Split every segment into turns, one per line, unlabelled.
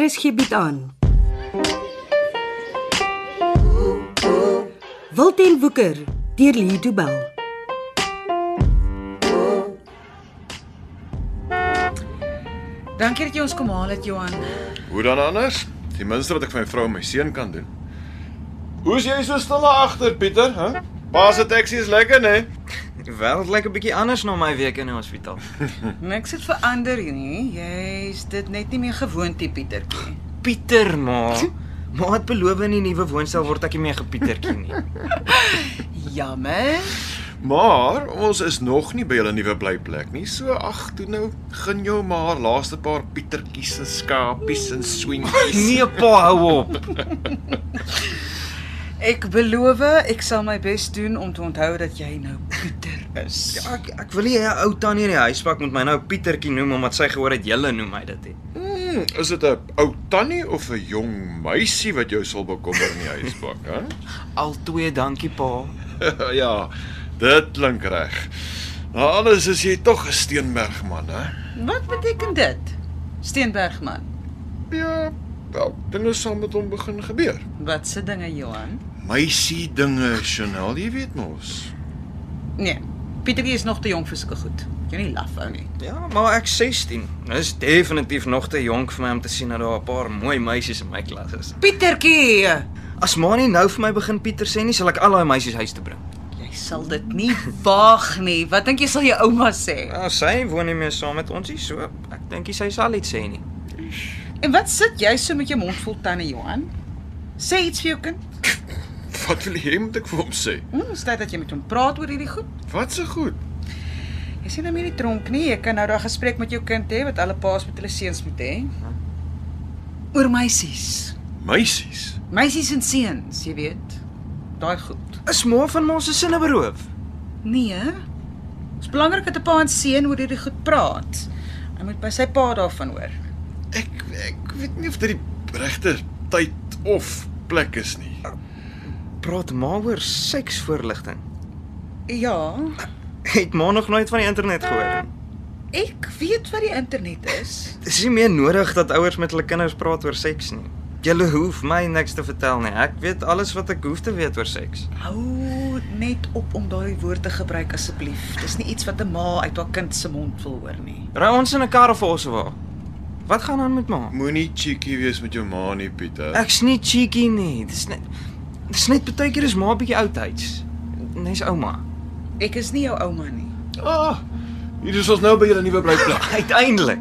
RSG bied Er aan. Wilten Woeker deur Lee Du Bell.
Dankie dat jy ons kom haal het, Johan.
Hoe dan anders? Die minste wat ek vir my vrou en my seun kan doen. Hoe's jy so stil daar agter, Pieter? Hæ? Pa se taxi is lekker, né?
Die wêreld lyk 'n bietjie anders na my week in die hospitaal.
Niks het verander nie. Jy's dit net nie meer gewoond, die Pietertjie.
Pieter, ma. Ma het beloof in die nuwe woonstel word ek nie meer gepietertjie nie.
Jammer.
Maar ons is nog nie by julle nuwe blyplek nie. So ag, toe nou gun jou maar laaste paar pietertjies en skapies en swinkies.
Nee, pa, hou op.
Ek beloof ek sal my bes doen om te onthou dat jy nou Pieter is.
Ja, ek ek wil nie 'n ou tannie in die huis pak met my nou Pietertjie noem omdat sy gehoor het julle noem my dit. He.
Hmm, is dit 'n ou tannie of 'n jong meisie wat jou sal bekommer in die huisbak, hè?
Al twee, dankie pa.
ja, dit klink reg. Na alles is jy tog 'n Steenberg man, hè?
Wat beteken dit? Steenbergman.
Ja, wel, dinge sal met hom begin gebeur.
Wat se dinge, Johan?
Meisie dinge, Chanel, jy weet mos.
Nee, Pietertjie is nog te jonk vir sulke goed. Jy nie laf ou nie.
Ja, maar ek 16. Dis definitief nog te jonk vir my om te sien dat daar 'n paar mooi meisies in my klas is.
Pietertjie,
As ma nie nou vir my begin Pieter sê nie, sal ek al daai meisies huis toe bring.
jy sal dit nie waag nie. Wat dink jy sal jou ouma sê?
Ja, sy woon nie meer saam met ons nie, so ek dink nie sy sal iets sê nie.
En wat sit jy so met jou mond vol tande, Johan? Sê iets vir jou kind.
Wat wil jy hê moet ek vir hom sê?
Ons tyd dat jy met hom praat oor hierdie goed.
Wat se goed?
Jy sien nou meer die tronk nie. Jy kan nou daai gesprek met jou kind hê wat alle paas met hulle seuns moet hê. Oor meisies.
Meisies.
Meisies en seuns, jy weet. Daai goed.
Is ma van ma se sinne beroof?
Nee. Dit is belangrik dat 'n pa en seun oor hierdie goed praat. Hy moet by sy pa daarvan hoor.
Ek ek weet nie of dit die regte tyd of plek is nie.
Praat ma oor seksvoorligting.
Ja,
Het ma nog nooit van die internet gehoor nie.
ek weet wat die internet is.
Dis nie meer nodig dat ouers met hulle kinders praat oor seks nie. Julle hoef my niks te vertel nie. Ek weet alles wat ek hoef te weet oor seks.
Hou net op om daardie woord te gebruik asseblief. Dis nie iets wat 'n ma uit haar kind se mond wil hoor nie.
Ry ons in 'n kar of 'n Ossewa. Wat gaan aan met ma?
Moenie cheeky wees met jou ma nie, Pieter.
Ek's nie cheeky nie. Dis net Dis net baie keer is ma 'n bietjie oudtyds. Nes ouma.
Ek is nie jou ouma nie.
Ah, hier is ons nou by julle nuwe blyplek.
Uiteindelik.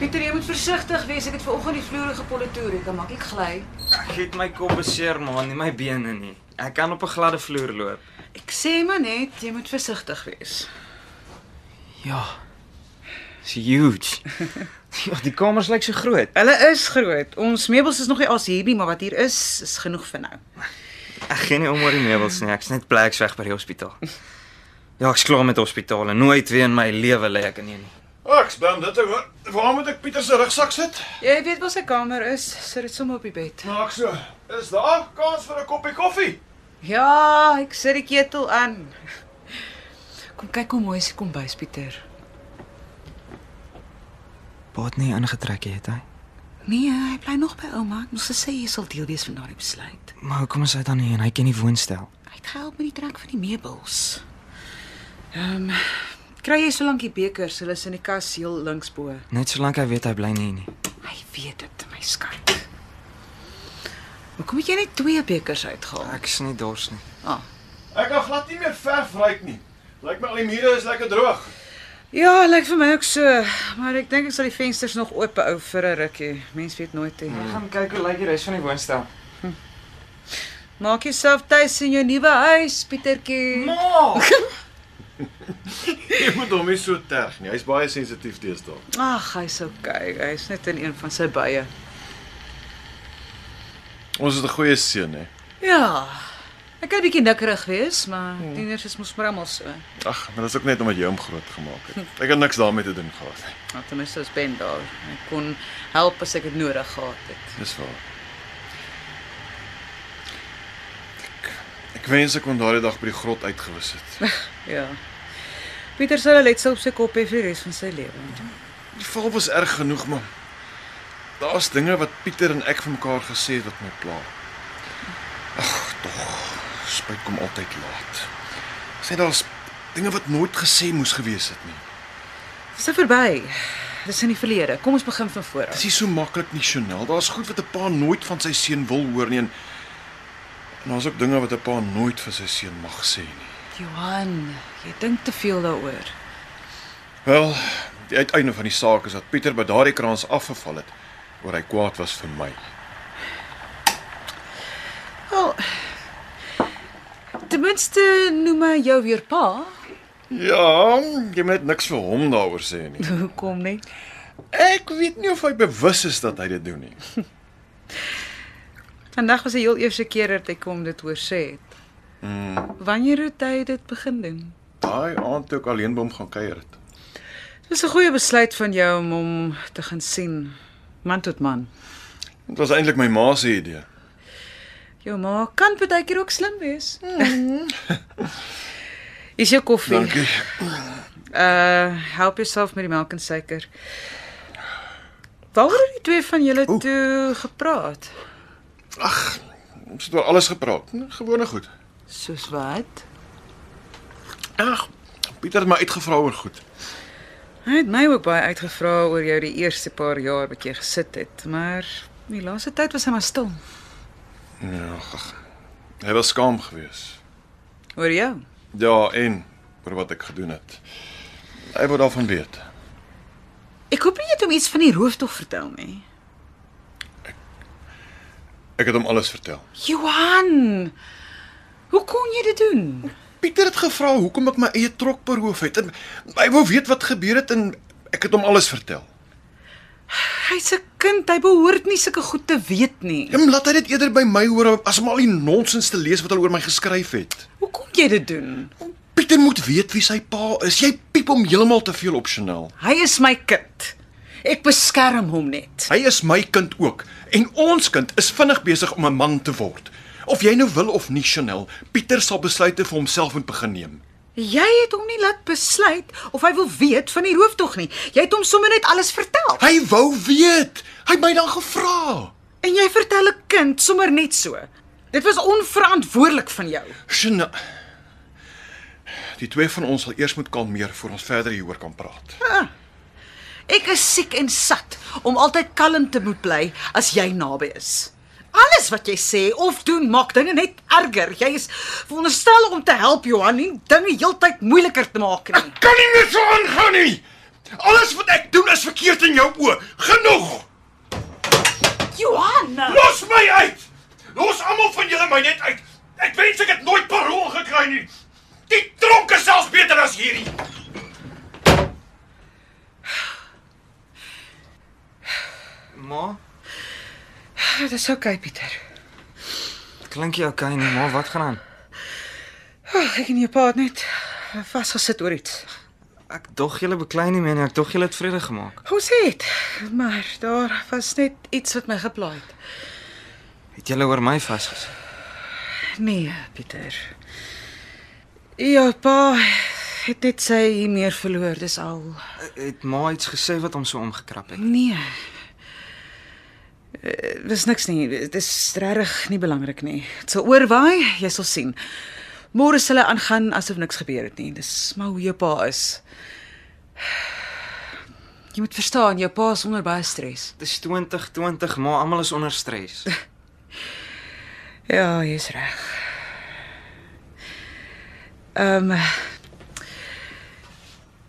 Pieter, jy moet versigtig wees. Ek het vanoggend die vloere gepolitoer. Ek kan maklik gly.
Ek het my kop beseer maar nie my bene nie. Ek kan op 'n gladde vloer loop.
Ek sê maar net, jy moet versigtig wees.
Ja. It's huge. Ja, die kamers lyk so groot.
Hulle is groot. Ons meubels is nog nie as hier nie, maar wat hier is, is genoeg vir nou.
Ek gee nie om oor die meubels nie. Ek's net pleks weg by die hospitaal. Ja, ek's klaar met hospitale. Nooit weer in my lewe lê ek in een nie.
Ag, spam dit hoor. Waar moet ek Pieter se rugsak sit?
Jy weet waar sy kamer is, sit dit sommer op die bed.
Maak so. Is daar kans vir 'n koppie koffie?
Ja, ek sit die ketel aan.
Kom kyk hoe mooi is die kombuis, Pieter.
Baat nie aangetrek het hy.
Nee, hy bly nog by ouma. Ek moes gesê jy sal deel wees van daardie besluit.
Maar hoekom is hy dan hier en hy ken die woonstel?
Hy het gehelp met die trek van die meubels.
Ehm, um, kry jy solank die bekers, hulle is in die kas heel links bo.
Net solank hy weet hy bly nie hier nie.
Hy weet dit, my skat. Hoekom het jy net twee bekers uitgehaal?
Ek's nie dors nie.
Ek kan glad nie meer verf ryk nie. Lyk my al die mure is lekker droog.
Ja, lyk vir my ook so, maar ek dink ek sal die vensters nog oop hou vir 'n rukkie. Mens weet nooit nie.
Ek gaan kyk hoe lyk die res van die woonstel.
Maak jouself tuis in jou nuwe huis, Pietertjie.
Ma!
Jy moet hom nie so terg nie. Hy's baie sensitief teesdae.
Ag, hy's okay. Hy's net in een van sy buie.
Ons het 'n goeie seun, hè.
Ja. Ek kan 'n bietjie nikkerig wees, maar
Ja.
tieners is mos maar almal so.
Ag, maar dis ook net omdat jy hom groot gemaak het. Ek het niks daarmee te doen gehad nie.
Maar Nou, ten minste is Ben daar. Ek kon help as ek dit nodig gehad het.
Dis waar. Ek, ek wens ek kon daardie dag by die grot uitgewis het.
Ja. Pieter sal 'n letsel op sy kop hê vir die res van sy lewe.
Die val was erg genoeg, man. Daar's dinge wat Pieter en ek vir mekaar gesê het wat my pla. Ag, tog. Spyt kom altyd laat. Sê daar's dinge wat nooit gesê moes gewees het nie.
Dis nou verby. Dis in die verlede. Kom ons begin van voor af.
Dit is nie so maklik nie, Chanel. Daar's goed wat 'n pa nooit van sy seun wil hoor nie en en daar's ook dinge wat 'n pa nooit vir sy seun mag sê nie.
Johan, jy dink te veel daaroor.
Wel, die uiteinde van die saak is dat Pieter by daardie kraans afgeval het oor hy kwaad was vir my.
Wel. Ten minste noem hy jou weer pa.
Ja, jy moet net niks vir hom daaroor sê nie.
Hoekom nie?
Ek weet nie of hy bewus is dat hy dit doen nie.
Vandag was die heel eerste keer dat ek hom dit hoor sê het. Wanneer het hy dit begin doen?
Daai aand toe ek alleen by hom gaan kuier het.
Dis 'n goeie besluit van jou om hom te gaan sien. Man tot man.
Dit was eintlik my ma se idee.
Jou ma kan baie keer ook slim wees. Is jou koffie?
Dankie.
Uh, help jouself met die melk en suiker. Waaroor het die twee van julle toe gepraat?
Ons het oor alles gepraat. Gewone goed.
Soos wat?
Ag, Pieter het my uitgevra oor goed.
Hy het my ook baie uitgevra oor jou die eerste paar jaar wat jy gesit het, maar die laaste tyd was hy maar stil.
Ja, ag. Hy was skaam geweest.
Oor jou.
Ja, en oor wat ek gedoen het. Hy wou daarvan weet.
Ek hoop nie jy het hom iets van die rooftog vertel nie.
Ek het hom alles vertel.
Johan, hoe kon jy dit doen?
Pieter het gevra hoekom ek my eie trok beroof het. En hy wou weet wat gebeur het en ek het hom alles vertel.
Hy's 'n kind, hy behoort nie sulke goed te weet nie.
Hom laat hy dit eerder by my hoor as om al die nonsens te lees wat hulle oor my geskryf het.
Hoe kon jy dit doen?
Pieter moet weet wie sy pa is. Jy piep hom heeltemal te veel opsioneel.
Hy is my kind. Ek beskerm hom net.
Hy is my kind ook en ons kind is vinnig besig om 'n man te word. Of jy nou wil of nie, Chanel, Pieter sal besluite vir homself moet begin neem.
Jy het hom nie laat besluit of hy wil weet van die rooftog nie. Jy het hom sommer net alles vertel.
Hy wou weet. Hy het my dan gevra.
En jy vertel 'n kind sommer net so. Dit was onverantwoordelik van jou.
Sina. Die twee van ons sal eers moet kalmeer voor ons verder hieroor kan praat.
Ek is siek en sat om altyd kalm te moet bly as jy naby is. Alles wat jy sê of doen maak dinge net erger. Jy is veronderstel om te help Johan, nie dinge heeltyd moeiliker te maak nie.
Kan nie meer so aangaan nie. Alles wat ek doen is verkeerd in jou oë. Genoeg.
Johan,
Los my uit. Los almal van julle my net uit. Ek wens ek het nooit parol gekry nie. Die tronk is selfs beter as hierdie.
Ma,
dit is oukei, Ah, okay, Pieter.
klink jy okay nie? Ma, wat gaan aan?
Oh, ek en jou pa het net vasgesit oor iets.
Ek dog julle beklei nie meer nie. Ek dog julle het vrede gemaak.
Hoe sê dit? Maar daar was net iets wat my geplaai het.
Het julle oor my vasgesit?
Nee, Pieter. Ja, pa het net sy hier meer verloor, dis al.
Eh, Het ma iets gesê wat hom so omgekrap het?
Nee. Eh, Dis niks nie. Dit is regtig nie belangrik nie. Dit sal oorwaai, jy sal sien. Môre sal hy aangaan asof niks gebeur het nie. Dis maar hoe jou pa is. Jy moet verstaan, jou pa is onder baie stres.
Dis 2020, ma, almal is onder stres.
Ja, jy's reg. Ehm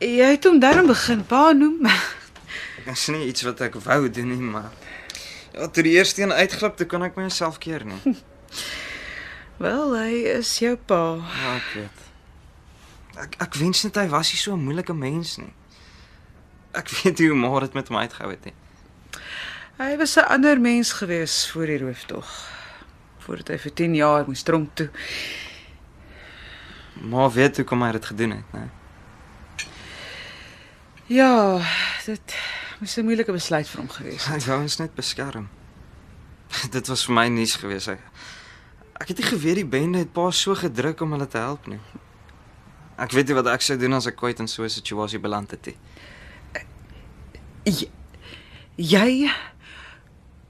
Jy het hom daarom begin pa noem.
Dis nie iets wat ek wou doen nie, maar ja, toe die eerste een uitglip, toe kon ek myself keer nie.
Wel, hy is jou pa.
Ja, ek weet. Ek ek wens net hy was nie so 'n moeilike mens nie. Ek weet nie hoe maar dit met hom uitgehou het nie.
Hy was 'n ander mens gewees voor die rooftog. voordat hy vir 10 jaar moes tronk toe.
Ma weet hoe kom hy dit gedoen het, né?
Ja, dit moes 'n moeilike besluit vir hom gewees het.
Ek wou ons net beskerm. dit was vir my nuus gewees. Ek, ek het nie geweet die bende het pa so gedruk om hulle te help nie. Ek weet nie wat ek sou doen as ek kwyt in so 'n situasie beland het nie.
J jy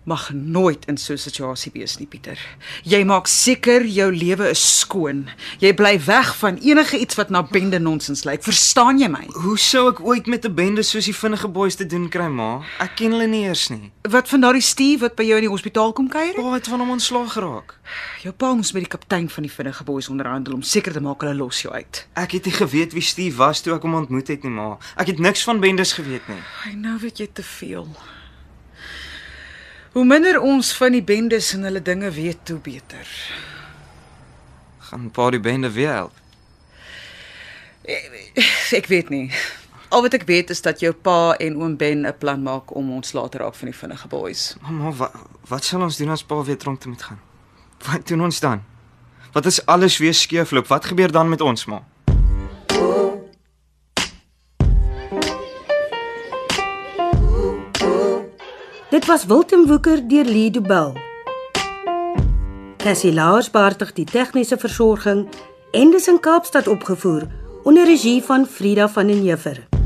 mag nooit in so 'n situasie wees nie, Pieter. Jy maak seker jou lewe is skoon. Jy bly weg van enige iets wat na bende nonsens lyk. Verstaan jy my?
Hoe sou ek ooit met 'n bende soos die vinnige boeis te doen kry, ma? Ek ken hulle nie eers nie.
Wat van daardie Steve wat by jou in die hospitaal kom kuier?
Pa het van hom ontslaag geraak.
Jou pa moes met die kaptein van die vinnige boeis onderhandel om seker te maak hulle los jou uit.
Ek het nie geweet wie Steve was toe ek hom ontmoet het nie, ma. Ek het niks van bendes geweet nie.
Ai, nou weet jy te veel. Hoe minder ons van die bendes en hulle dinge weet, hoe beter.
Gaan pa die bende weer help?
Ek weet nie. Al wat ek weet is dat jou pa en oom Ben 'n plan maak om ons later raak van die vinnige boeis.
Mamma, wat wat sal ons doen as pa weer tronk toe moet gaan? Wat doen ons dan? Wat as alles weer skeefloop? Wat gebeur dan met ons, ma?
Dit was Wilten Woeker deur Lee Du Bell. Cassie Lars beheerdig die tegniese versorging en dis in Kaapstad opgevoer onder regie van Frida van den Heever.